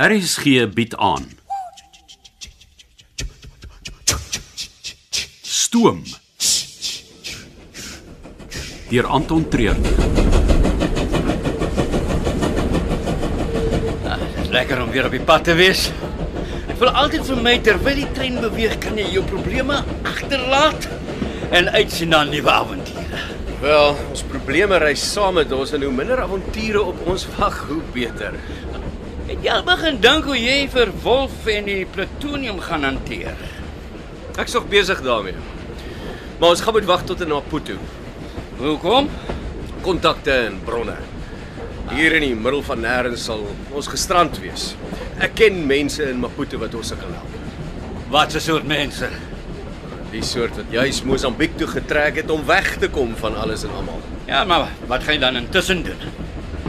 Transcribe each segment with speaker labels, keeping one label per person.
Speaker 1: RSG bied aan. Stoom. Deur Anton Treuer.
Speaker 2: Dis lekker om weer op die pad te wees. Ek wil altyd vir my terwyl die trein beweeg kan jy jou probleme agterlaat en uitsien na nuwe avonture.
Speaker 3: Wel, ons probleme ry saam met ons en hoe minder avonture op ons wag, hoe beter.
Speaker 2: Het jy al begin dink hoe jy vir Wolf en die plutonium gaan hanteer?
Speaker 3: Ek's nog besig daarmee. Maar ons gaan moet wag tot in Maputo.
Speaker 2: Hoekom?
Speaker 3: Kontakte en bronne. Hier in die middel van nêrens sal ons gestrand wees. Ek ken mense in Maputo wat ons kan help.
Speaker 2: Wat 'n soort mense.
Speaker 3: Die soort wat juis Mosambiek toe getrek het om weg te kom van alles en almal.
Speaker 2: Ja, maar wat gaan jy dan intussen doen?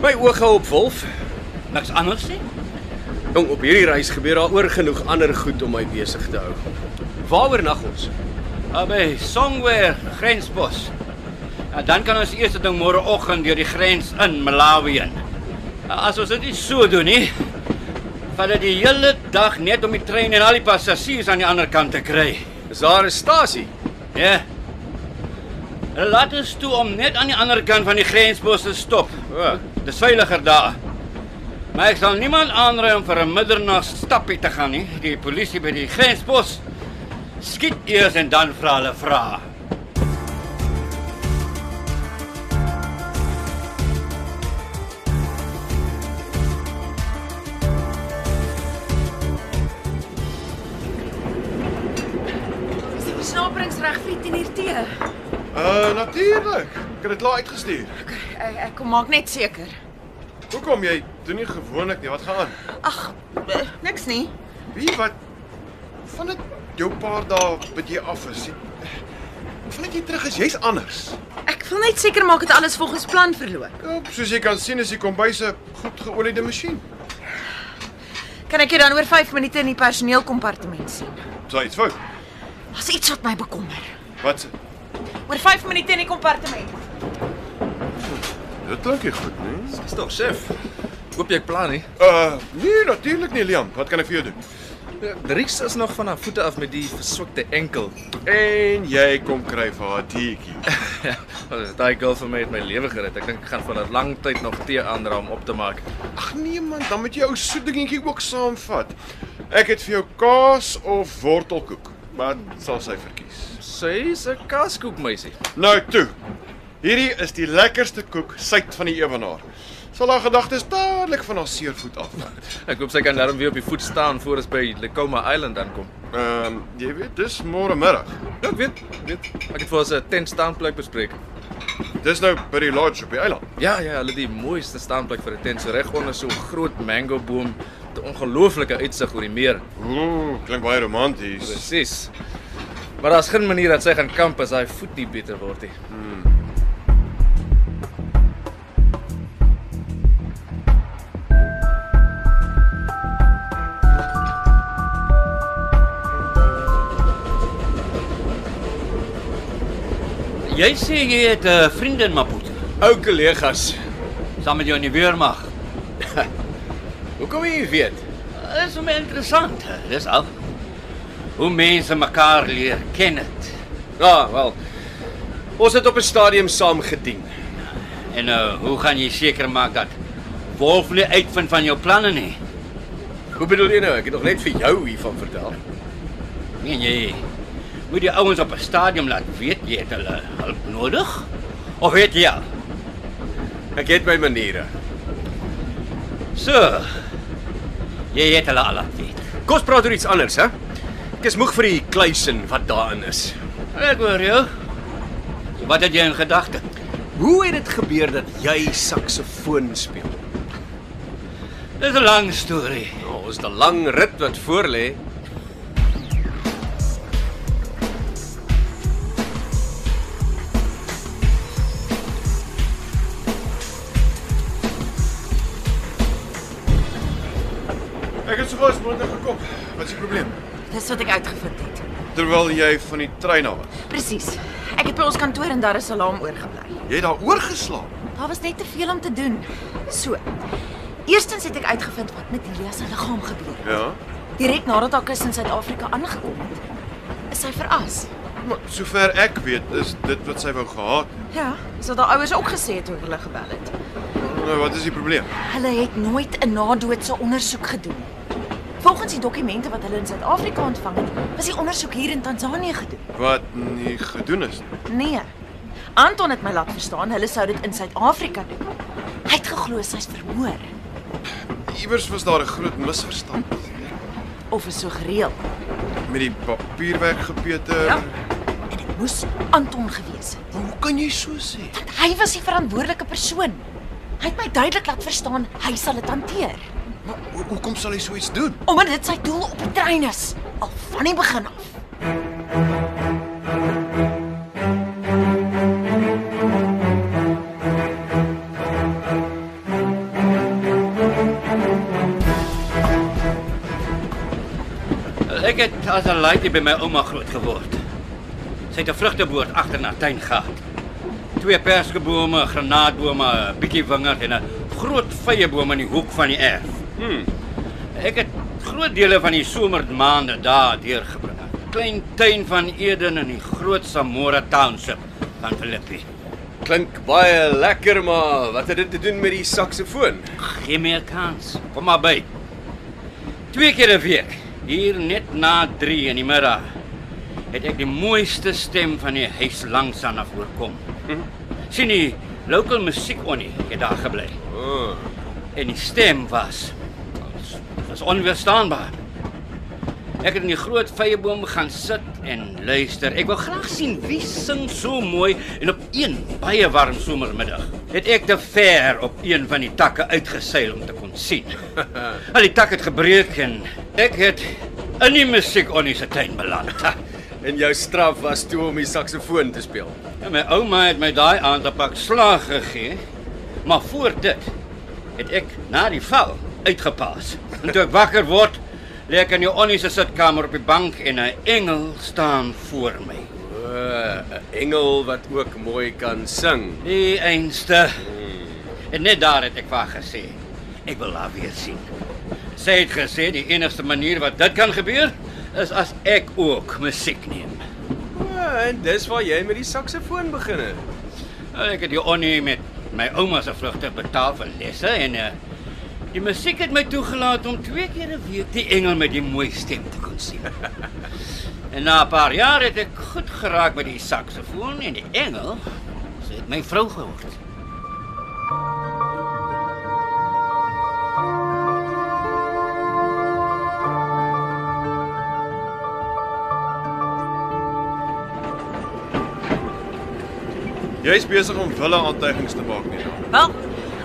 Speaker 3: My oog hou op Wolf.
Speaker 2: Niks anders nie?
Speaker 3: Jong, op hierdie reis gebeur daar oor genoeg ander goed om my besig te hou. Waaroor nag ons?
Speaker 2: Albei somewhere grenspos. Ja, dan kan ons eers ding môreoggend deur die grens in Malawi in. Ja, As ons dit nie so doen nie, vat dit die hele dag net om die trein en al die passasiers aan die ander kant te kry.
Speaker 3: Is daar 'n stasie?
Speaker 2: Ja. Hulle laat ons toe om net aan die ander kant van die grenspos te stop.
Speaker 3: O,
Speaker 2: Dis veiliger daar. Maar ek sal niemand aanraai om vir 'n middernag stappie te gaan nie. Die polisie by die grenspos skiet eers en dan vra hulle vrae.
Speaker 4: Is die versnaperings reg vir 10:00 tee?
Speaker 5: Uh natuurlik. Ek het dit laat uitgestuur.
Speaker 4: Ek, ek kom maak net seker.
Speaker 5: Hoekom jy doen nie gewoonlik nie? Wat gaan aan?
Speaker 4: Ag, eh, niks nie.
Speaker 5: Wie wat van dit jou paar dae by jy af is? Van dit jy terug is jy's anders.
Speaker 4: Ek wil net seker maak dat alles volgens plan verloop.
Speaker 5: Ja, soos jy kan sien is die kombuis 'n goed geoliede masjien.
Speaker 4: Kan ek jou dan oor 5 minute in die personeelkompartement sien?
Speaker 5: So iets fout.
Speaker 4: Daar's iets wat my bekommer.
Speaker 5: Wat se-
Speaker 4: Oor 5 minute in die kompartement.
Speaker 5: dit klink nie goed nee. nie.
Speaker 6: Dis tog chef. Koop jy 'n plan nie?
Speaker 5: Uh nee, natuurlik nie Liam. Wat kan ek vir jou doen?
Speaker 6: Dries is nog van haar voete af met die verswikte enkel.
Speaker 5: En jy kom kry vir haar teetjie.
Speaker 6: Ja, Daai girl vir my het my lewe gered. Ek dink ek gaan van 'n lang tyd nog tee aandra om op te maak.
Speaker 5: Ag nee man, dan moet jy ou soet dingetjie ook saamvat. Ek het vir jou kaas of wortelkoek. Wat sal sy verkies?
Speaker 6: Sy's 'n kaskoek meisie.
Speaker 5: Nou toe. Hierdie is die lekkerste koek suid van die ewenaar. Sal haar gedagtes dadelik van haar seervoet af.
Speaker 6: Ek hoop sy kan darm weer op die voet staan voor ons by Lekoma Island aankom.
Speaker 5: Ehm, jy weet, dis môre middag.
Speaker 6: Ja, ek weet, ek weet. Ek het vir ons 'n tent staanplek bespreek.
Speaker 5: Dis nou by die lodge op die eiland.
Speaker 6: Ja, ja, hulle het die mooiste staanplek vir 'n tent so reg onder so 'n groot mango boom met 'n ongelooflike uitsig oor die meer.
Speaker 5: Ooh, klink baie romanties.
Speaker 6: Presies. Maar daar's geen manier dat sy gaan kamp as haar voet nie beter word nie.
Speaker 2: Jy sê jy het 'n vriend in Maputo,
Speaker 3: Ou kollegas,
Speaker 2: saam met jou in die weermag.
Speaker 3: hoekom jy weet?
Speaker 2: Dit Eh, is my interessant, dis al. Hoe mense mekaar leer ken het.
Speaker 3: Ja, wel. Ons het op 'n stadium saam gedien.
Speaker 2: En uh, hoe gaan jy seker maak dat Wolf nie uitvind van jou planne nie?
Speaker 3: Hoe bedoel jy nou? Ek het nog net vir jou hiervan vertel.
Speaker 2: Nee, jy moet die ouens op 'n stadium laat weet jy het hulle hulp nodig. Of weet jy? al?
Speaker 3: Ek het my maniere.
Speaker 2: So. Jy het hulle al laat weet.
Speaker 3: Kom ons praat oor iets anders, hè? Ek is moeg vir die kluisen wat daarin is.
Speaker 2: Ek hoor jou. Wat het jy in gedagte?
Speaker 3: Hoe het dit gebeur dat jy saksofoon speel?
Speaker 2: Dis 'n lang storie.
Speaker 3: Nou, ons het 'n lang rit wat voor lê.
Speaker 5: Ek het sopas moontlik gekom. Wat is die probleem?
Speaker 4: Dis wat ek uitgevind het.
Speaker 5: Terwyl jy van die trein af was.
Speaker 4: Presies. Ek het by ons kantoor in Dar es Salaam oorgebly.
Speaker 5: Jy het daar oorgeslaap.
Speaker 4: Daar was net te veel om te doen. So. Eerstens het ek uitgevind wat met Julia se liggaam gebeur het.
Speaker 5: Ja.
Speaker 4: Direk nadat haar kus in Suid-Afrika aangekom het, is sy veras.
Speaker 5: Maar sover ek weet, is dit wat sy wou gehad. het.
Speaker 4: Ja, dis wat haar ouers ook gesê het toe ek hulle gebel het.
Speaker 5: Nou, wat is die probleem?
Speaker 4: Hulle het nooit 'n nadoodse ondersoek gedoen. Volgens die dokumente wat hulle in Suid-Afrika ontvang het, was die ondersoek hier in Tansanië gedoen.
Speaker 5: Wat nie gedoen is nie.
Speaker 4: Nee. Anton het my laat verstaan hulle sou dit in Suid-Afrika doen. Hy het geglo sy's vermoor
Speaker 5: Iewers was daar 'n groot misverstand
Speaker 4: of is so gereël.
Speaker 5: met die papierwerk gepeter.
Speaker 4: Ja. En dit moes Anton gewees het.
Speaker 5: Hoe kan jy so sê?
Speaker 4: Want hy was die verantwoordelike persoon. Hy het my duidelik laat verstaan hy sal dit hanteer
Speaker 5: Maar ho hoekom sal hy so iets doen?
Speaker 4: omdat dit sy doel op die trein is al van die begin af.
Speaker 2: Ek het as 'n laaitie by my ouma groot geword. Sy het 'n vrugteboord agter in haar tuin gehad. Twee perskebome, 'n granaatbome, 'n bietjie wingerd en 'n groot vyeboom in die hoek van die erf. Hmm. Ek het groot dele van die somermaande daar deurgebring. 'n Klein tuin van Eden in die groot Samora township van Filippi.
Speaker 3: Klink baie lekker, maar wat het dit te doen met die saksofoon?
Speaker 2: Gee my 'n kans. Kom maar by. Twee keer 'n week, hier net na 3 in die middag, het ek die mooiste stem van die huis langs aan af hoorkom. Sien jy, local musiek onie het daar gebly.
Speaker 3: Oh,
Speaker 2: En die stem was was onweerstaanbaar. Ek het in die groot vyeboom gaan sit en luister. Ek wou graag sien wie sing so mooi en op een baie warm somermiddag het ek te ver op een van die takke uitgeseil om te kon sien. Al die tak het gebreek en ek het in die musiek op die tuin beland.
Speaker 3: en jou straf was toe om die saksofoon te speel.
Speaker 2: En Ja, my ouma het my daai aand 'n pak slaag gegee. Maar voor dit het ek na die val uitgepaas. En toe ek wakker word, lê ek in die onnie se sitkamer op die bank en 'n engel staan voor my.
Speaker 3: Uh, 'n engel wat ook mooi kan sing.
Speaker 2: Die einste. En net daar het ek vir haar gesê, ek wil haar weer sien. Sy het gesê die enigste manier wat dit kan gebeur is as ek ook musiek neem.
Speaker 3: Ja, en dis waar jy met die saksofoon begin het.
Speaker 2: Nou, Ek het die onnie met my ouma se vrugte betaal vir lesse en uh, die musiek het my toegelaat om twee keer 'n week die engel met die mooi stem te kon sien. en na 'n paar jaar het ek goed geraak met die saksofoon en die engel sy het my vrou geword.
Speaker 5: Jy's besig om wille aantuigings te maak nie.
Speaker 4: Wel,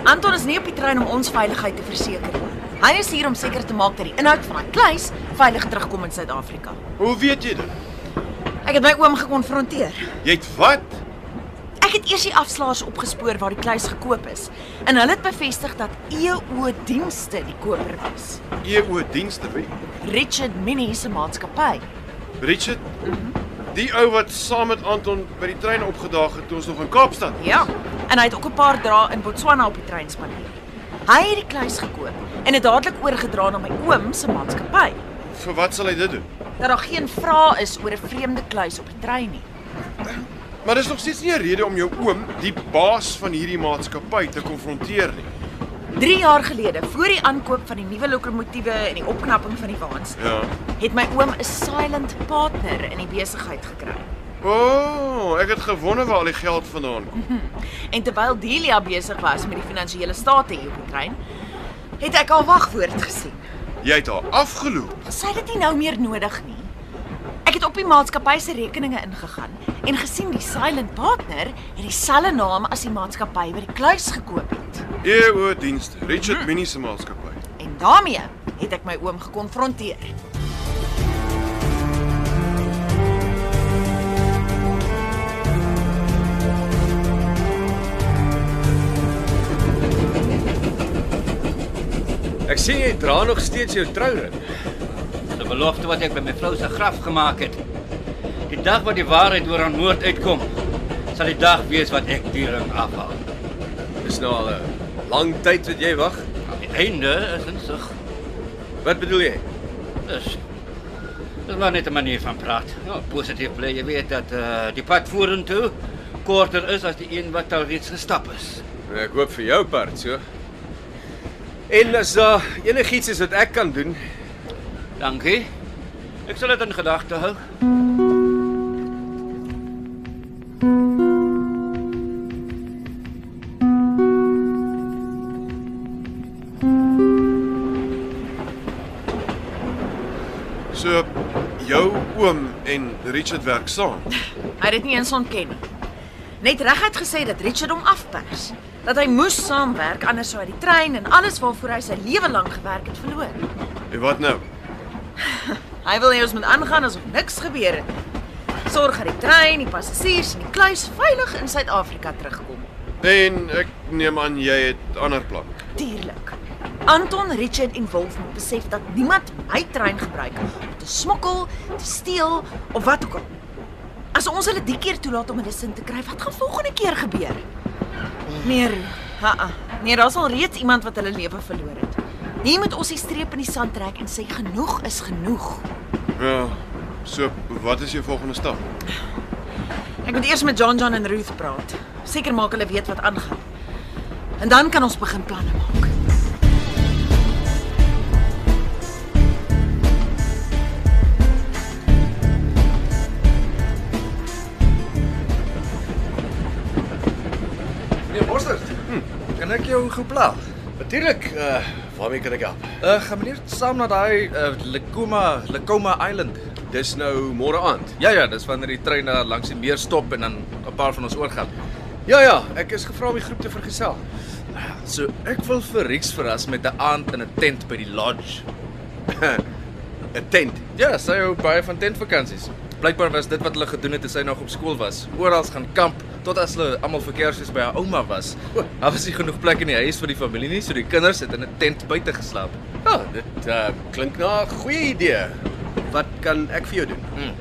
Speaker 4: Anton is nie op die trein om ons veiligheid te verseker nie. Hy is hier om seker te maak dat die inhoud van daai kluis veilig terugkom in Suid-Afrika.
Speaker 5: Hoe weet jy dit?
Speaker 4: Ek het my oom gekonfronteer.
Speaker 5: Jy het wat?
Speaker 4: Ek het eers die afslaers opgespoor waar die kluis gekoop is en hulle het bevestig dat EO Dienste die koper was.
Speaker 5: EO E dienste by
Speaker 4: Richard Minnie se maatskappy.
Speaker 5: Richard.
Speaker 4: Mhm.
Speaker 5: Die ou wat saam met Anton by die trein opgedaag het toe ons nog in Kaapstad was.
Speaker 4: Ja, en hy het ook 'n paar drae in Botswana op die trein spandeer. Hy het die kluis gekoop en dit dadelik oorgedra na my oom se maatskappy
Speaker 5: Vir wat sal hy dit doen?
Speaker 4: dat daar geen vrae is oor 'n vreemde kluis op die trein nie.
Speaker 5: Maar dis nog steeds nie 'n rede om jou oom, die baas van hierdie maatskappy, te konfronteer nie.
Speaker 4: 3 jaar gelede, voor die aankoop van die nuwe lokomotiewe en die opknapping van die waans,
Speaker 5: Ja.
Speaker 4: het my oom 'n silent partner in die besigheid gekry.
Speaker 5: O, oh, ek het gewonder waar al die geld vandaan kom.
Speaker 4: En terwyl Delia besig was met die finansiële state hier op die trein, het ek haar wagwoord gesien.
Speaker 5: Jy het haar afgeloop.
Speaker 4: Sy het dit nie nou meer nodig nie. Ek het op die maatskappy se rekeninge ingegaan en gesien die silent partner het dieselfde naam as die maatskappy wat die kluis gekoop het.
Speaker 5: EO E dienste, Richard Minnie se maatskappy.
Speaker 4: En daarmee het ek my oom gekonfronteer.
Speaker 3: Ek sien jy dra nog steeds jou trouring.
Speaker 2: Dis 'n belofte wat ek by my vrou se graf gemaak het. Die dag wat die waarheid oor haar moord uitkom, sal die dag wees wat ek die ring afhaal.
Speaker 3: Dis nou al 'n lang tyd wat jy wag.
Speaker 2: Al die die einde is in sig.
Speaker 3: Wat bedoel jy?
Speaker 2: Dus Dis maar net 'n manier van praat. Nou, positief bly jy weet dat eh die pad vorentoe korter is as die een wat al reeds gestap is.
Speaker 3: Nou, Ek hoop vir jou part so. En as daar enigiets is wat ek kan doen,
Speaker 2: Dankie. Ek sal dit in gedagte hou.
Speaker 5: So jou oom en Richard werk saam.
Speaker 4: Hy het dit nie eens ontken nie. Net reguit gesê dat Richard hom afpers, dat hy moes saamwerk anders sou hy die trein en alles waarvoor hy sy lewe lank gewerk het verloor.
Speaker 5: En wat nou?
Speaker 4: Hy wil hê ons moet aangaan asof niks gebeur het. nie. Sorg dat die trein, die passasiers en die kluis veilig in Suid-Afrika terugkom.
Speaker 5: En ek neem aan jy het ander planne.
Speaker 4: Natuurlik. Anton, Richard en Wolf moet besef dat niemand my trein gebruik om te smokkel, te steel of wat ook al. As ons hulle die keer toelaat om 'n sin te kry, wat gaan volgende keer gebeur? Nee, ha. Nee, daar's al reeds iemand wat hulle lewe verloor het. Hier moet ons die streep in die sand trek en sê genoeg is genoeg.
Speaker 5: Ja. So wat is jou volgende stap?
Speaker 4: Ek moet eers met John John en Ruth praat. Seker maak hulle weet wat aangaan. En dan kan ons begin planne maak.
Speaker 6: Nee, Mostert. Hm. Kan ek jou gepla?
Speaker 3: natuurlik, uh, waarmee kan ek help?
Speaker 6: Uh, gaan meneer saam na daai uh, Lekoma, Lekoma Island.
Speaker 3: Dis nou môre aand.
Speaker 6: Ja ja, dis wanneer die trein daar langs die meer stop en dan 'n paar van ons oorgaan.
Speaker 3: Ja ja, ek is gevra om die groep te vergesel.
Speaker 6: So ek wil vir Rex verras met 'n aand in 'n tent by die lodge.
Speaker 3: 'n Tent.
Speaker 6: Ja, sy hou baie van tentvakansies. Blykbaar was dit wat hulle gedoen het toe sy nog op skool was. Oral gaan kamp tot as hulle almal vir Kersfees by haar ouma was. O, daar was nie genoeg plek in die huis vir die familie nie, so die kinders het in 'n tent buite geslaap.
Speaker 3: Ja, dit uh, klink na 'n goeie idee. Wat kan ek vir jou doen?
Speaker 6: Mm.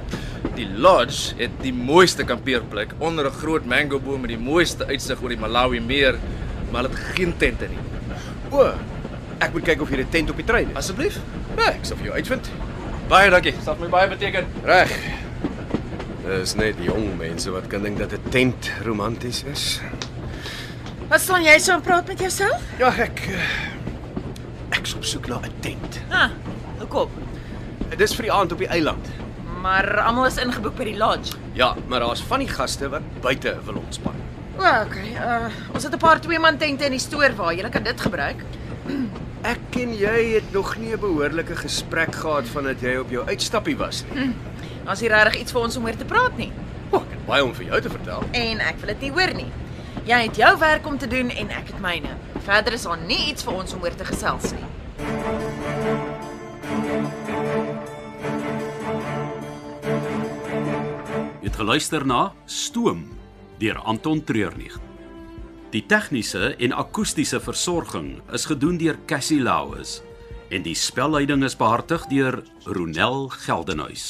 Speaker 6: Die lodge het die mooiste kampeerplek onder 'n groot mangoboom met die mooiste uitsig oor die Malawi meer, maar dit geen tente nie.
Speaker 3: O, ek moet kyk of hier 'n tent op die trein is.
Speaker 6: Asseblief.
Speaker 3: Ja, ek sal vir jou uitvind.
Speaker 6: Baie dankie. Dit het my baie beteken.
Speaker 3: Reg. Dis net jong mense wat kan dink dat 'n tent romanties is.
Speaker 4: Wat staan jy so en praat met jouself?
Speaker 3: Ja, ek eh, ek is op soek na 'n tent.
Speaker 4: Ha, hoekom?
Speaker 3: Dis vir die aand op die eiland.
Speaker 4: Maar almal is ingeboek by die lodge.
Speaker 3: Ja, maar daar's van die gaste wat buite wil ontspan.
Speaker 4: O, okay. Uh, ons het 'n paar twee-man tente in die stoor waar jy kan dit gebruik.
Speaker 3: Ek en jy het nog nie 'n behoorlike gesprek gehad vandat jy op jou uitstappie was nie.
Speaker 4: Daar's nie regtig iets vir ons om oor te praat nie.
Speaker 3: O, ek het baie om vir jou te vertel.
Speaker 4: En ek wil dit nie hoor nie. Jy het jou werk om te doen en ek het myne. Verder is daar nie iets vir ons om oor te gesels nie.
Speaker 1: Jy Het geluister na Stoom deur Anton Treurnig. Die tegniese en akoestiese versorging is gedoen deur Cassie Lauis en die spelleiding is behartig deur Ronel Geldenhuys.